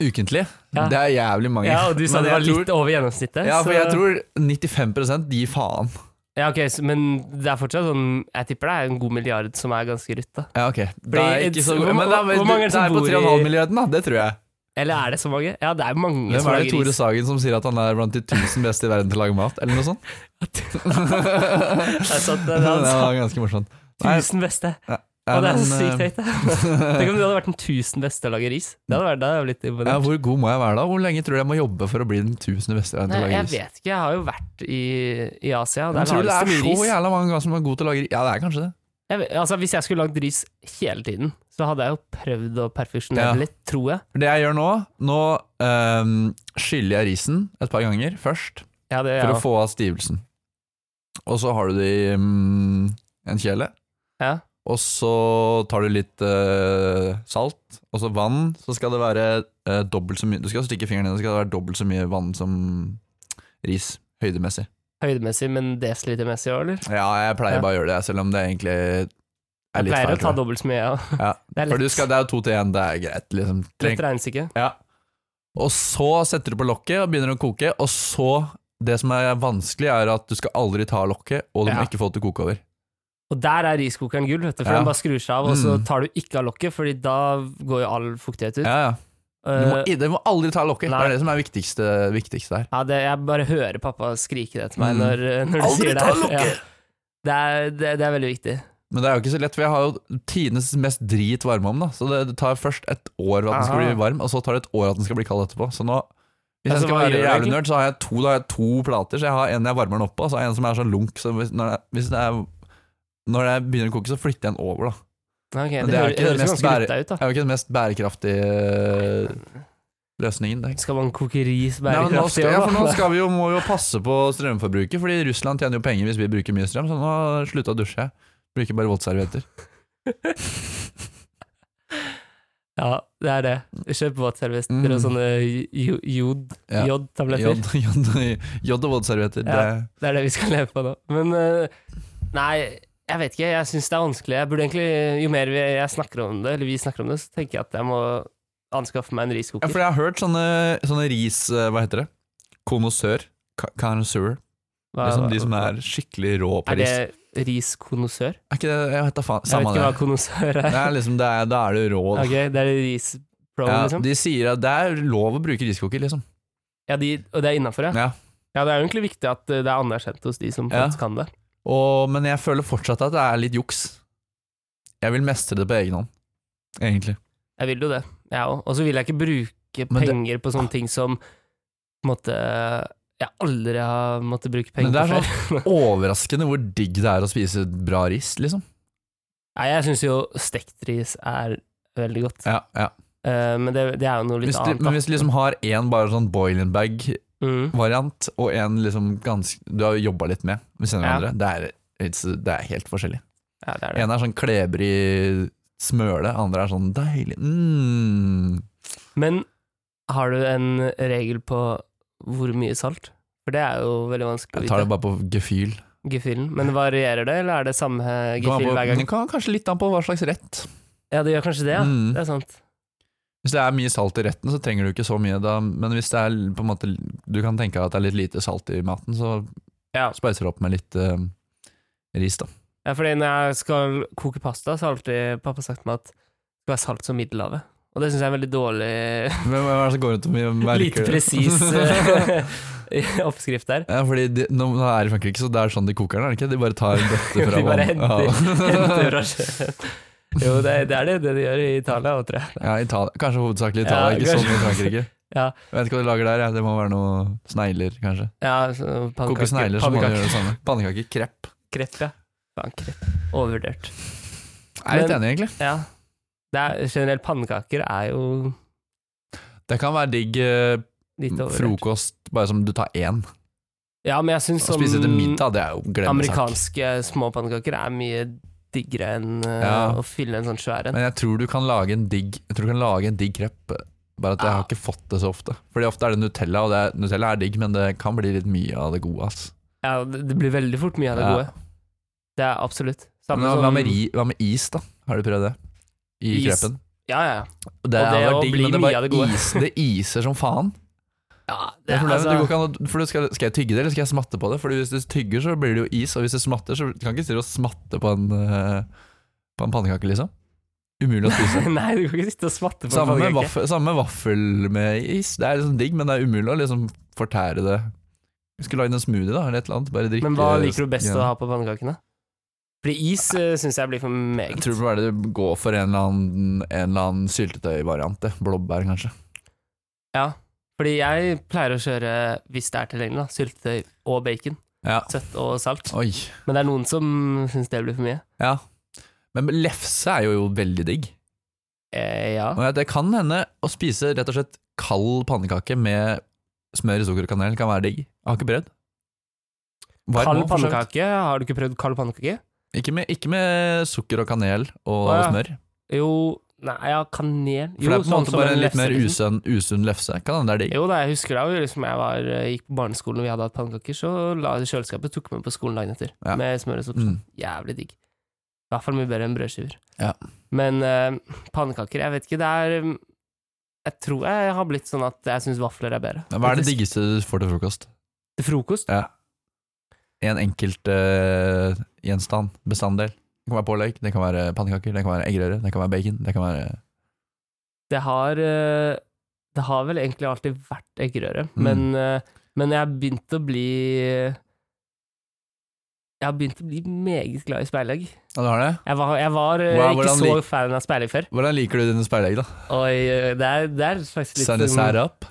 A: Ukentlig?
B: Ja.
A: Det er jævlig mange.
B: Ja, og du sa
A: Men
B: det var
A: jeg tror-
B: litt over gjennomsnittet.
A: Ja, for
B: så-
A: jeg tror 95 gir faen.
B: Ja, ok, så, Men det er fortsatt sånn Jeg tipper det er en god milliard som er ganske rutt, da.
A: Ja, ok. Det er
B: Fordi
A: ikke
B: it's-
A: så
B: hvor-
A: men det er,
B: hvor mange er det
A: det
B: som
A: er på
B: bor i-
A: 3,5-milliarden, da. Det tror jeg.
B: Eller er det så mange? Ja, det er mange
A: Hvem er
B: som
A: det
B: lager
A: Tore
B: ris.
A: Sagen som sier at han er blant de 1000 beste i verden til å lage mat, eller noe sånt?
B: Det er sant, det
A: det
B: er sant.
A: var ganske morsomt. Nei,
B: Tusen beste.
A: ja,
B: og det er så
A: men,
B: sykt
A: eh,
B: høyt, det. Tenk om du hadde vært den tusen beste til å lage ris. Det hadde vært, det hadde jeg blitt
A: ja,
B: imponert.
A: hvor god må jeg være da? Hvor lenge tror du jeg må jobbe for å bli den 1000 beste i verden til
B: Nei,
A: å lage
B: jeg
A: ris?
B: vet ikke, jeg har jo vært i, i Asia, og
A: Men
B: der
A: tror du det
B: lages
A: er
B: det mye
A: så
B: ris.
A: jævla mange som er gode til å lage ris? Ja, det er kanskje det.
B: Jeg vet, altså, hvis jeg skulle lagd ris hele tiden, så hadde jeg jo prøvd å perfeksjonere
A: Ja.
B: litt, tror jeg.
A: For Det jeg gjør nå, nå ehm, skyller jeg risen et par ganger først,
B: Ja, det,
A: for å få av stivelsen. Og så har du det i mm, en kjele,
B: ja.
A: og så tar du litt eh, salt, og så vann, så skal det være eh, dobbelt så mye, du skal stikke fingeren inn, så skal det være dobbelt så mye vann som ris, høydemessig.
B: Høydemessig, men desilitermessig òg, eller?
A: Ja, jeg pleier
B: Ja.
A: bare å gjøre det, selv om det egentlig er
B: Jeg
A: litt
B: pleier
A: feil.
B: å ta
A: tror jeg.
B: dobbelt så mye, ja.
A: Ja,
B: Det er
A: For du
B: lett,
A: skal, det er jo to til én, det er greit, liksom. Treng,
B: lett regnestykke.
A: Ja. Og så setter du på lokket og begynner å koke, og så Det som er vanskelig, er at du skal aldri ta lokket, og du
B: Ja.
A: må ikke få det til å koke over.
B: Og der er riskokeren gull, vet du, for
A: Ja.
B: den bare skrur seg av, og så
A: Mm.
B: tar du ikke av lokket, Fordi da går jo all fuktighet ut.
A: Ja, ja. Du må,
B: Eh,
A: du må aldri ta lokket. Det
B: Nei.
A: er det som er viktigste, viktigste her.
B: ja, det, jeg bare hører pappa skrike det til meg
A: Mm.
B: når, når du sier det. her. Ja. Det, er, det, det er veldig viktig.
A: Men det er jo ikke så lett, for jeg har jo tidenes mest drit varme om, da. Så det, det tar først et år at den skal
B: Aha.
A: bli varm, og så tar det et år at den skal bli kald etterpå. Så nå hvis
B: Altså,
A: jeg skal
B: hva
A: være
B: gjør du
A: jævlig
B: egentlig?
A: nerd, så har jeg to, da har jeg to plater. Så jeg har en jeg varmer den opp på, og så har jeg en som er sånn lunk. Så hvis, når, det, hvis det er, når det begynner å koke, så flytter jeg den over, da.
B: Ja, ok,
A: Men
B: det,
A: det er
B: hø-
A: ikke det
B: høres jo
A: mest
B: ganske
A: bære-
B: rutta ut,
A: Det er jo ikke den mest bærekraftige eh,
B: da. løsningen,
A: det.
B: Skal man koke ris
A: Nei, men nå,
B: bærekraftig
A: skal, ja, for nå
B: òg, da?
A: skal vi jo, må vi jo passe på strømforbruket, fordi Russland tjener jo penger hvis vi bruker mye strøm, så nå slutta å dusje jeg. Bruker bare våtservietter.
B: Ja, det er det. Kjøp våtservietter
A: Mm.
B: og sånne jo- jod,
A: Ja.
B: jodtabletter.
A: Jod, jod, jod og våtservietter.
B: Ja.
A: Det,
B: Det er det vi skal leve på nå. Men eh, nei, jeg vet ikke. Jeg syns det er vanskelig. Jeg burde egentlig, Jo mer vi, jeg snakker om det, eller vi snakker om det, så tenker jeg at jeg må anskaffe meg en
A: ja,
B: riskoker.
A: for jeg har hørt sånne, sånne ris eh, Hva heter det? Konosør. Carnosaur.
B: Hva-
A: Liksom de som er skikkelig rå på
B: Er det
A: ris.
B: riskonnissør?
A: Er ikke det Jeg vet da faen.
B: Jeg vet
A: Samme
B: ikke
A: det.
B: hva konnissør
A: Det
B: er.
A: er liksom, det er, da er du rå, da.
B: Ok, det er rispro,
A: Ja,
B: liksom?
A: de sier at det er lov å bruke riskoker, liksom.
B: Ja, de, og det er innafor, ja.
A: Ja.
B: ja. Det er jo egentlig viktig at eh, det er anerkjent hos de som
A: Ja.
B: faktisk kan det.
A: Og, men jeg føler fortsatt at det er litt juks. Jeg vil mestre det på egen hånd, egentlig.
B: Jeg vil jo det, jeg òg. Og så vil jeg ikke bruke
A: Men det-
B: penger på sånne ting som på en måte jeg aldri har måttet bruke
A: Men
B: penger
A: det
B: på
A: er sånn-
B: før.
A: Overraskende hvor digg det er å spise bra ris, liksom.
B: Nei, jeg syns jo stekt ris er veldig godt,
A: Ja, ja.
B: Eh, men det, det er jo noe litt
A: Hvis du,
B: annet.
A: men hvis du liksom har én bare sånn boil-in-bag-variant,
B: da. Mm.
A: og én liksom ganske du har jobba litt med ved siden av
B: Ja.
A: hverandre, det, er- it's- det er helt forskjellig.
B: Ja, det er det.
A: En er sånn klebrig smøle, andre er sånn deilig mm.
B: Men har du en regel på hvor mye salt? For det er jo veldig vanskelig å
A: Jeg
B: vite.
A: tar det bare på gefühl.
B: Gefühlen. Men varierer det, eller er det samme
A: Kommer
B: gefühl
A: an på-
B: hver gang?
A: det kan kanskje litt an på hva slags rett.
B: Ja, det gjør kanskje det, ja.
A: Mm.
B: Det er sant.
A: Hvis det er mye salt i retten, så trenger du ikke så mye. Da. Men hvis det er på en måte, du kan tenke deg at det er litt lite salt i maten, så
B: Ja.
A: speiser du opp med litt eh, ris, da.
B: Ja, fordi når jeg skal koke pasta, så har alltid pappa sagt meg at det skal være salt som Middelhavet. Og det syns jeg er en veldig dårlig,
A: Hvem hvem er det som går rundt og merker
B: lite presis eh, oppskrift der.
A: Ja, fordi de, Nå nå er det i Frankrike, så det er sånn de koker den, er det ikke? De bare tar en bøtte fra
B: De bare
A: vann-
B: Henter
A: Ja.
B: fra sjøen. Jo, det, det er det, det de gjør i Italia, også, tror jeg.
A: Ja, Italia. Kanskje hovedsakelig
B: Ja,
A: Italia, ikke
B: kanskje.
A: sånn i Frankrike.
B: Ja.
A: Jeg vet ikke hva de lager der, ja. det må være noe snegler, kanskje.
B: Ja, så
A: Koke snegler, så må de gjøre det samme. Pannekaker, krepp.
B: Krepp, ja. Faen, krepp. Overvurdert.
A: Jeg er litt
B: Men-
A: enig, egentlig.
B: Ja. Det er, generelt pannekaker er jo
A: Det kan være digg eh,
B: litt overvurdert.
A: frokost, bare som du tar én.
B: Ja, men jeg syns
A: Å spise til
B: sånn
A: middag, det er jo glemmesak.
B: amerikanske små pannekaker er mye diggere enn eh,
A: Ja.
B: å fylle en sånn svær en.
A: Men jeg tror du kan lage en digg Jeg tror du kan lage en digg krepp, bare at jeg
B: Ja.
A: har ikke fått det så ofte. Fordi ofte er det Nutella, og det er, Nutella er digg, men det kan bli litt mye av det gode. ass.
B: Ja, det det blir veldig fort mye av det
A: Ja.
B: gode. Det er absolutt. Samme
A: Men hva-
B: som-
A: hva, med ri, hva med is, da? Har du prøvd det? I
B: sånn- Is.
A: kreppen?
B: Ja, ja.
A: Det,
B: Og det
A: har vært
B: å bli
A: men
B: mye
A: bare
B: av det gode.
A: Is, det iser som faen.
B: ja
A: Det er
B: det,
A: problemet.
B: altså,
A: det går ikke an å, for du skal, skal jeg tygge det, eller skal jeg smatte på det? Fordi Hvis du tygger, så blir det jo is, og hvis du smatter, så du kan ikke stille og smatte på en, eh, på en pannekake, liksom. Umulig å spise.
B: Nei, du kan ikke sitte og smatte på en
A: Samme med,
B: pannekake.
A: vaffel, samme med vaffel med is. Det er liksom digg, men det er umulig å liksom fortære det. Vi skulle lage en smoothie, da, eller et eller annet. Bare drikke
B: Men hva liker du best å ha på pannekakene? Fordi is uh, syns jeg blir for
A: Jeg
B: meget.
A: tror bare det går for en eller annen, en eller annen syltetøyvariant. det. Blåbær, kanskje.
B: Fordi jeg pleier å kjøre, hvis det er tilgjengelig, da, syltetøy og bacon.
A: Ja.
B: Søtt og salt.
A: Oi.
B: Men det er noen som syns det blir for mye.
A: Ja. Men lefse er jo, jo veldig digg.
B: Eh, ja.
A: Og det kan hende å spise rett og slett kald pannekake med smør, sukker og kanel kan være digg. Jeg har ikke prøvd. Varm
B: Kald
A: også, for så vidt.
B: pannekake? Har du ikke prøvd kald pannekake?
A: Ikke med, ikke med sukker og kanel og
B: Å, ja.
A: smør.
B: Jo Nei, ja, kanel
A: For det
B: Jo,
A: er på en måte bare en litt mer
B: liksom.
A: usunn, usunn lefse. Kan hende det er digg.
B: Jo da, jeg husker da jo liksom jeg var, gikk på barneskolen og vi hadde hatt pannekaker, så la jeg det i kjøleskapet tok med på skolen dagen etter.
A: Ja.
B: Med smør og sopp.
A: Mm.
B: Jævlig digg. I hvert fall mye bedre enn brødskiver.
A: Ja.
B: Men eh, pannekaker, jeg vet ikke, det er eh, Jeg tror jeg har blitt sånn at jeg syns vafler er bedre.
A: Hva er det
B: Faktisk.
A: diggeste du får til frokost?
B: Til frokost?
A: En enkelt eh, gjenstand, bestanddel. Det kan være pålegg, det kan være pannekaker, det kan være eggerøre, det kan være bacon. Det kan være
B: Det har eh, Det har vel egentlig alltid vært eggerøre,
A: Mm.
B: men, eh, men jeg har begynt å bli Jeg har begynt å bli meget glad i speilegg.
A: Ja, du har det?
B: Jeg var, jeg var eh,
A: Wow,
B: ikke
A: hvordan
B: så
A: lik-
B: fan av speilegg før.
A: Hvordan liker du dine speilegg, da?
B: Oi, eh, det er, det er faktisk litt
A: Sunny
B: sånn,
A: side up?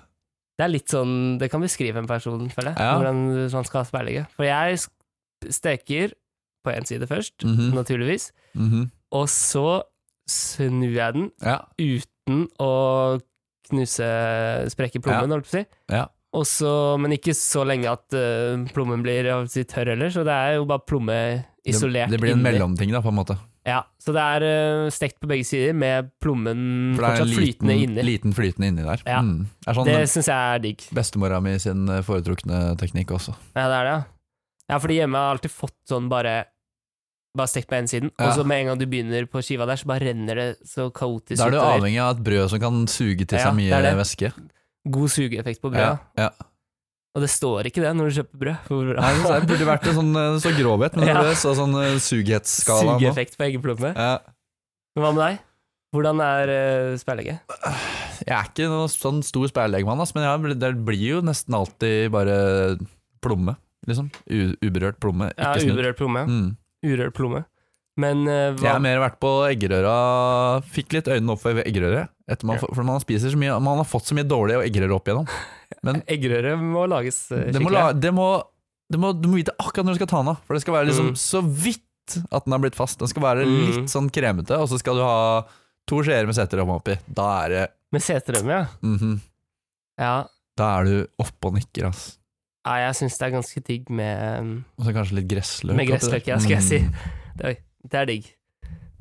B: Det er litt sånn Det kan beskrive en person, føler jeg,
A: Ja.
B: hvordan man skal ha speilegget. For jeg sk- steker på én side først,
A: Mhm,
B: naturligvis,
A: mhm.
B: og så snur jeg den
A: Ja.
B: uten å knuse sprekke plommen, holdt på å si.
A: Ja.
B: Og så- men ikke så lenge at eh, plommen blir holdt på å si, tørr heller, så det er jo bare plomme isolert
A: Det, det blir en
B: inni.
A: mellomting, da, på en måte.
B: Ja, så det er eh, stekt på begge sider, med plommen
A: For det er en
B: Mm, fortsatt
A: liten,
B: flytende inni.
A: liten flytende inni der.
B: Ja.
A: Mm. Det er sånn
B: Det syns jeg er digg.
A: bestemora mi sin eh, foretrukne teknikk også.
B: Ja, det er det, ja. Ja, fordi hjemme har jeg alltid fått sånn bare Bare stekt på ene siden,
A: Ja.
B: og så med en gang du begynner på skiva der, så bare renner det så kaotisk
A: Da er du
B: utover.
A: avhengig av et brød som kan suge til
B: Ja,
A: seg
B: det er
A: mye
B: det.
A: væske.
B: God sugeeffekt
A: Ja,
B: på brødet.
A: ja.
B: Og det står ikke det når du kjøper brød. Hvor bra.
A: Nei, det det burde vært en sånn, eh, så grovhet, men
B: Ja.
A: det så sånn eh, sughetsskala nå.
B: Sugeeffekt på eggeplommer.
A: Ja.
B: Men hva med deg? Hvordan er uh, eh, speilegget?
A: jeg er ikke noen sånn stor speillegmann, ass, men jeg, det blir jo nesten alltid bare plomme. Liksom. U uberørt plomme,
B: Ja,
A: ikke snudd.
B: urørt plomme.
A: Mm.
B: Urørt plomme. Men eh,
A: Jeg
B: hva
A: har mer vært på eggerøra Fikk litt øynene opp for eggerøret. Etter man,
B: Ja.
A: får- for man spiser så mye Man har fått så mye dårlig eggerøre opp igjennom.
B: Eggerøre må lages eh,
A: Det må,
B: skikkelig.
A: la, det må, det må, du må vite akkurat når du skal ta den av. For det skal være liksom
B: Mm.
A: så vidt at den har blitt fast. Den skal være
B: Mm.
A: litt sånn kremete, og så skal du ha to skjeer med seterømme oppi. Da er det
B: Med seterømme, ja.
A: mhm.
B: ja.
A: Da er du oppe og nikker, ass.
B: Nei, jeg syns det er ganske digg med eh,
A: Og så kanskje litt gressløk.
B: Med
A: oppi der.
B: gressløk, ja, skal jeg si.
A: Mm.
B: Det, oi, det er digg.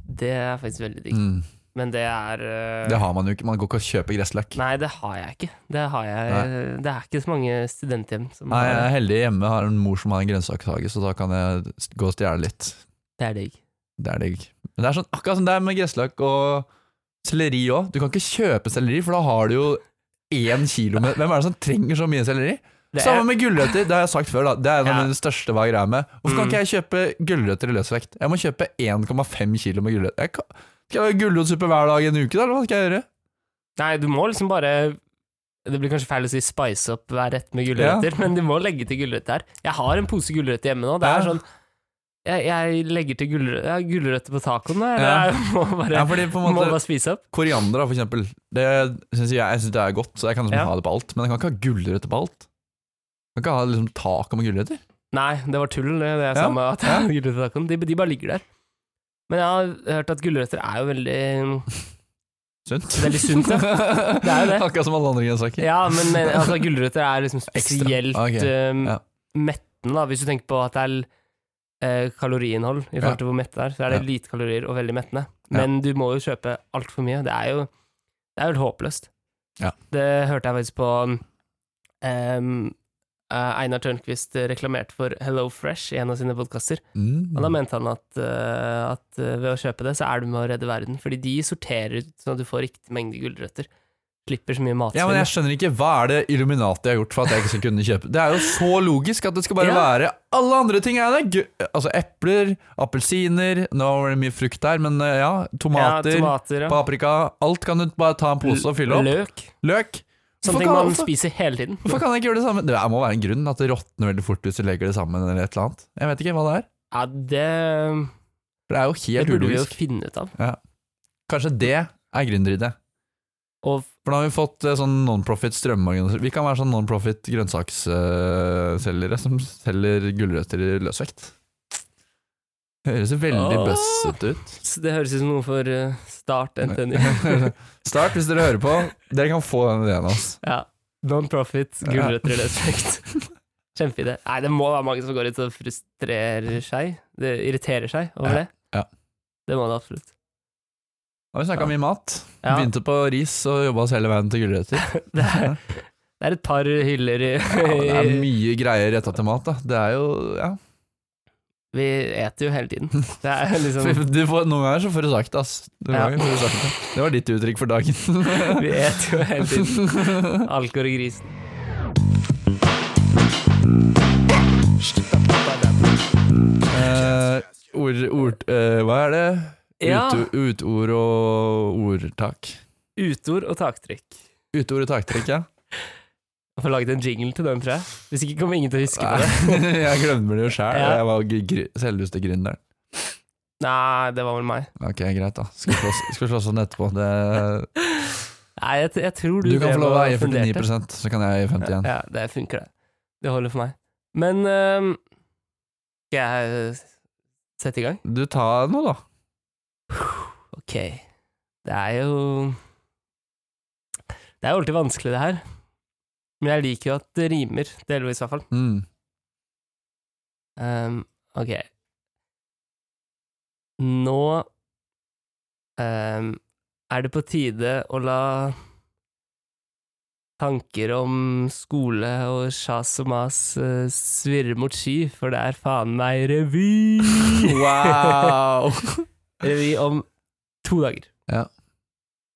B: Det er faktisk veldig digg.
A: Mm.
B: Men det er eh,
A: Det har man jo ikke. Man går ikke og kjøper gressløk.
B: Nei, det har jeg ikke. Det, har jeg,
A: Nei.
B: det er ikke så mange studenthjem som
A: Nei, jeg
B: har det.
A: er heldig hjemme, har en mor som har en grønnsakshage, så da kan jeg s- gå og stjele litt.
B: Det er digg.
A: Det er digg. Men det er sånn, akkurat som det er med gressløk og selleri òg. Du kan ikke kjøpe selleri, for da har du jo én kilo med Hvem er det som trenger så mye selleri?
B: Det er-
A: Samme med gulrøtter. Det har jeg sagt før, da. Det er en av
B: Ja.
A: mine største hva jeg greier med. Hvorfor kan
B: Mm.
A: ikke jeg kjøpe gulrøtter i løsvekt? Jeg må kjøpe 1,5 kilo med gulrøtter. Jeg kan, skal jeg ha gulrotsuppe hver dag i en uke, da, eller hva skal jeg gjøre?
B: Nei, du må liksom bare Det blir kanskje feil å si spice opp hver rett med gulrøtter, men du må legge til gulrøtter. Jeg har en pose gulrøtter hjemme nå. Det er
A: Ja.
B: sånn Jeg, jeg legger til gulrøtter, jeg har gulrøtter på tacoen. nå, Jeg,
A: Ja.
B: jeg må bare,
A: Ja, fordi på en
B: må
A: måte
B: bare spise opp.
A: Koriander, da, for eksempel. Det synes jeg, jeg synes det er godt, så jeg kan liksom
B: Ja.
A: ha det på alt. Men jeg kan ikke ha gulrøtter på alt. Jeg kan ikke ha liksom, taco med gulrøtter.
B: Nei, det var tull, det jeg sa
A: Ja.
B: med at
A: Ja.
B: gulrøtter på tacoen. De, de bare ligger der. Men jeg har hørt at gulrøtter er jo veldig
A: Sunt.
B: Veldig sunt, ja. Det er jo det.
A: Akkurat som alle andre grønnsaker.
B: Ja, men men, altså, gulrøtter er liksom
A: Ekstra.
B: spesielt
A: Ok,
B: eh,
A: ja.
B: mettende, da. Hvis du tenker på at det er eh, kaloriinnhold i forhold til hvor mett det er, så er det
A: Ja.
B: lite kalorier og veldig mettende.
A: Ja.
B: Men du må jo kjøpe altfor mye. Det er jo det er jo helt håpløst.
A: Ja.
B: Det hørte jeg faktisk på em, eh, Einar Tørnquist reklamerte for Hello Fresh i en av sine podkaster.
A: Mm.
B: Og da mente han at, eh, at eh, ved å kjøpe det, så er du med å redde verden. Fordi de sorterer ut sånn at du får riktig mengde gulrøtter. Slipper så mye matsvinn.
A: ja, men jeg skjønner ikke Hva er det Illuminati har gjort for at jeg ikke skal kunne kjøpe? Det er jo så logisk at det skal bare
B: Ja.
A: være alle andre ting. Er det. Gu- Altså Epler, appelsiner Nå var det mye frukt der, men eh, ja. Tomater,
B: ja, tomater ja.
A: paprika. Alt kan du bare ta en pose og fylle opp.
B: Løk.
A: Løk. Hvorfor
B: Sånne ting
A: kan-
B: man
A: hvorfor-
B: spiser hele tiden.
A: Hvorfor kan jeg ikke gjøre det samme? Det må være en grunn at det råtner veldig fort hvis du legger det sammen. eller et eller annet. Jeg vet ikke hva det er.
B: Ja, det,
A: For det er jo
B: det
A: helt
B: burde vi jo
A: ulogisk.
B: finne ut av.
A: Kanskje det er gründeridé.
B: Og
A: For da har vi fått eh, sånn non-profit strømorganisasjon. Vi kan være sånn non-profit grønnsaksselgere som selger gulrøtter i løsvekt. Høres jo veldig
B: Åh.
A: bøssete ut.
B: s- det høres ut som noe for eh, Start NTNU.
A: Start hvis dere hører på. Dere kan få den ideen av oss.
B: ja. Non-profit, gulrøtter i løsvekt. Kjempeidé. Nei, det må være mange som går ut og frustrerer seg. Det irriterer seg over det.
A: Ja, ja.
B: Det må det absolutt.
A: Da har vi snakka mye mat.
B: Ja.
A: Begynte på ris og jobba oss hele veien til gulrøtter.
B: Det er, det er et par hyller i
A: Ja, det er mye greier retta til mat. da. Det er jo, ja.
B: Vi eter jo hele tiden. Det er liksom
A: Du får, noen ganger så får du sagt ass. Noen
B: Ja.
A: ganger får du sagt det. Det var ditt uttrykk for dagen.
B: Vi eter jo hele tiden. Alkor og grisen.
A: Eh, ord, ord, eh, hva er det?
B: Ja.
A: Ut, utord og ordtak.
B: Utord og taktrykk.
A: Utord og taktrykk, ja.
B: Jeg får laget en jingle til den, tror jeg. Hvis ikke kommer ingen til å huske på det.
A: jeg glemmer det jo sjæl.
B: Ja.
A: Jeg var gr- gr- selveste gründeren.
B: Nei, det var vel meg.
A: Ok, greit, da. Skal slåss, skal slåss om det etterpå. Det,
B: Nei, jeg, t- jeg tror du
A: du kan
B: drev
A: få lov å
B: og
A: eie
B: funderte.
A: 49 så kan jeg eie 51
B: Ja, det funker, det. Det holder for meg. Men ehm, Skal jeg eh, sette i gang?
A: Du tar noe, da.
B: Ok. Det er jo Det er jo alltid vanskelig, det her. Men jeg liker jo at det rimer, delvis i hvert fall.
A: Mm.
B: Ehm, ok. Nå ehm, er det på tide å la tanker om skole og sjas og mas eh, svirre mot sky, for det er faen meg revy!
A: Wow!
B: revy om to dager.
A: Ja.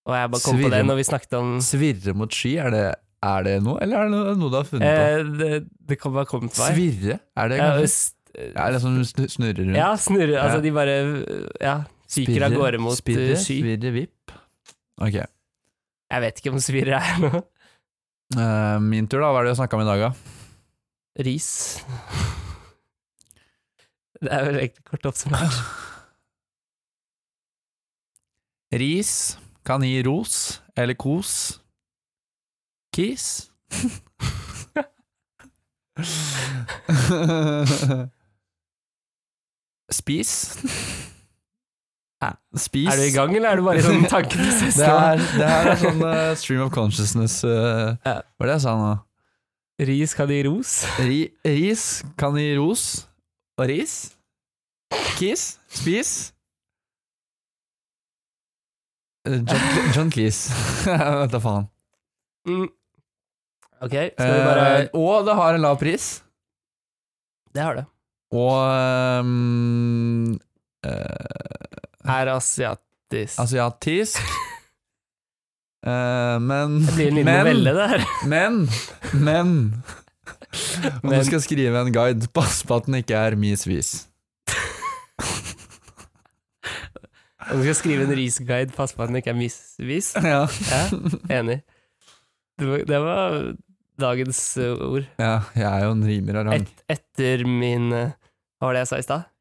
B: Og jeg bare kom på
A: Svirre-
B: det når vi snakket om
A: Svirre mot sky, er det, er det noe, eller er det noe, noe du har funnet på?
B: eh, det, det kan bare komme til meg.
A: Svirre? Er det
B: Ja,
A: kanskje?
B: s-
A: Ja, er det sånn du snu- snurrer rundt?
B: ja, snurre Altså,
A: Ja.
B: de bare Ja, fyker av
A: Spirre,
B: gårde mot eh,
A: spirre,
B: sky.
A: Svirre vipp. Ok.
B: Jeg vet ikke om det svirrer her nå.
A: Eh, min tur, da. Hva er det vi snakka om i dag, da?
B: Ris. Det er vel egentlig kort oppsummert.
A: Ris kan gi ros eller kos. Kis. Spis.
B: Hæ?
A: Spis.
B: Er du i gang, eller er du bare i sånn tankeprosess?
A: Det her, det her er sånn eh, stream of consciousness eh,
B: Ja.
A: Hva er det jeg sa nå?
B: Ris kan gi ros.
A: Ri, ris kan gi ros og ris. Kis. Spis. Eh, John, John Keys. Vet da faen.
B: Mm. Ok, skal vi bare
A: Eh, og det har en lav pris.
B: Det har det.
A: Og ehm, eh,
B: Er asiatisk.
A: asiatisk. Eh, men
B: det blir en liten
A: men-
B: novelle, det her.
A: Men, men Om
B: Men.
A: du skal skrive en guide, pass på at den ikke er misvis.
B: Du skal skrive en risguide, pass på at den ikke er misvis.
A: Ja.
B: Ja, enig. Det var, det var dagens eh, ord.
A: ja, jeg er jo en rimer av rang.
B: Et, etter min eh, Hva var det jeg sa i stad?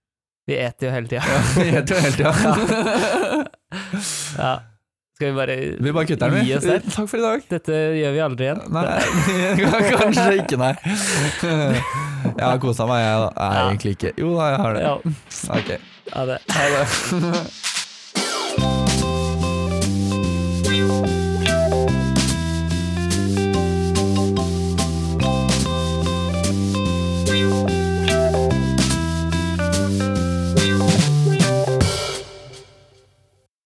B: Vi eter jo hele tida.
A: Jeg heter jo hele tida.
B: Ja. Skal vi bare
A: Vi bare kutter den,
B: Gi oss der.
A: vi. Takk for i dag.
B: Dette gjør vi aldri igjen.
A: Nei, kanskje ikke, nei. Jeg har kosa meg, jeg. da. Nei,
B: Ja.
A: egentlig ikke. Jo da, jeg har det.
B: Ja,
A: Ok.
B: ha det.
A: Ha det.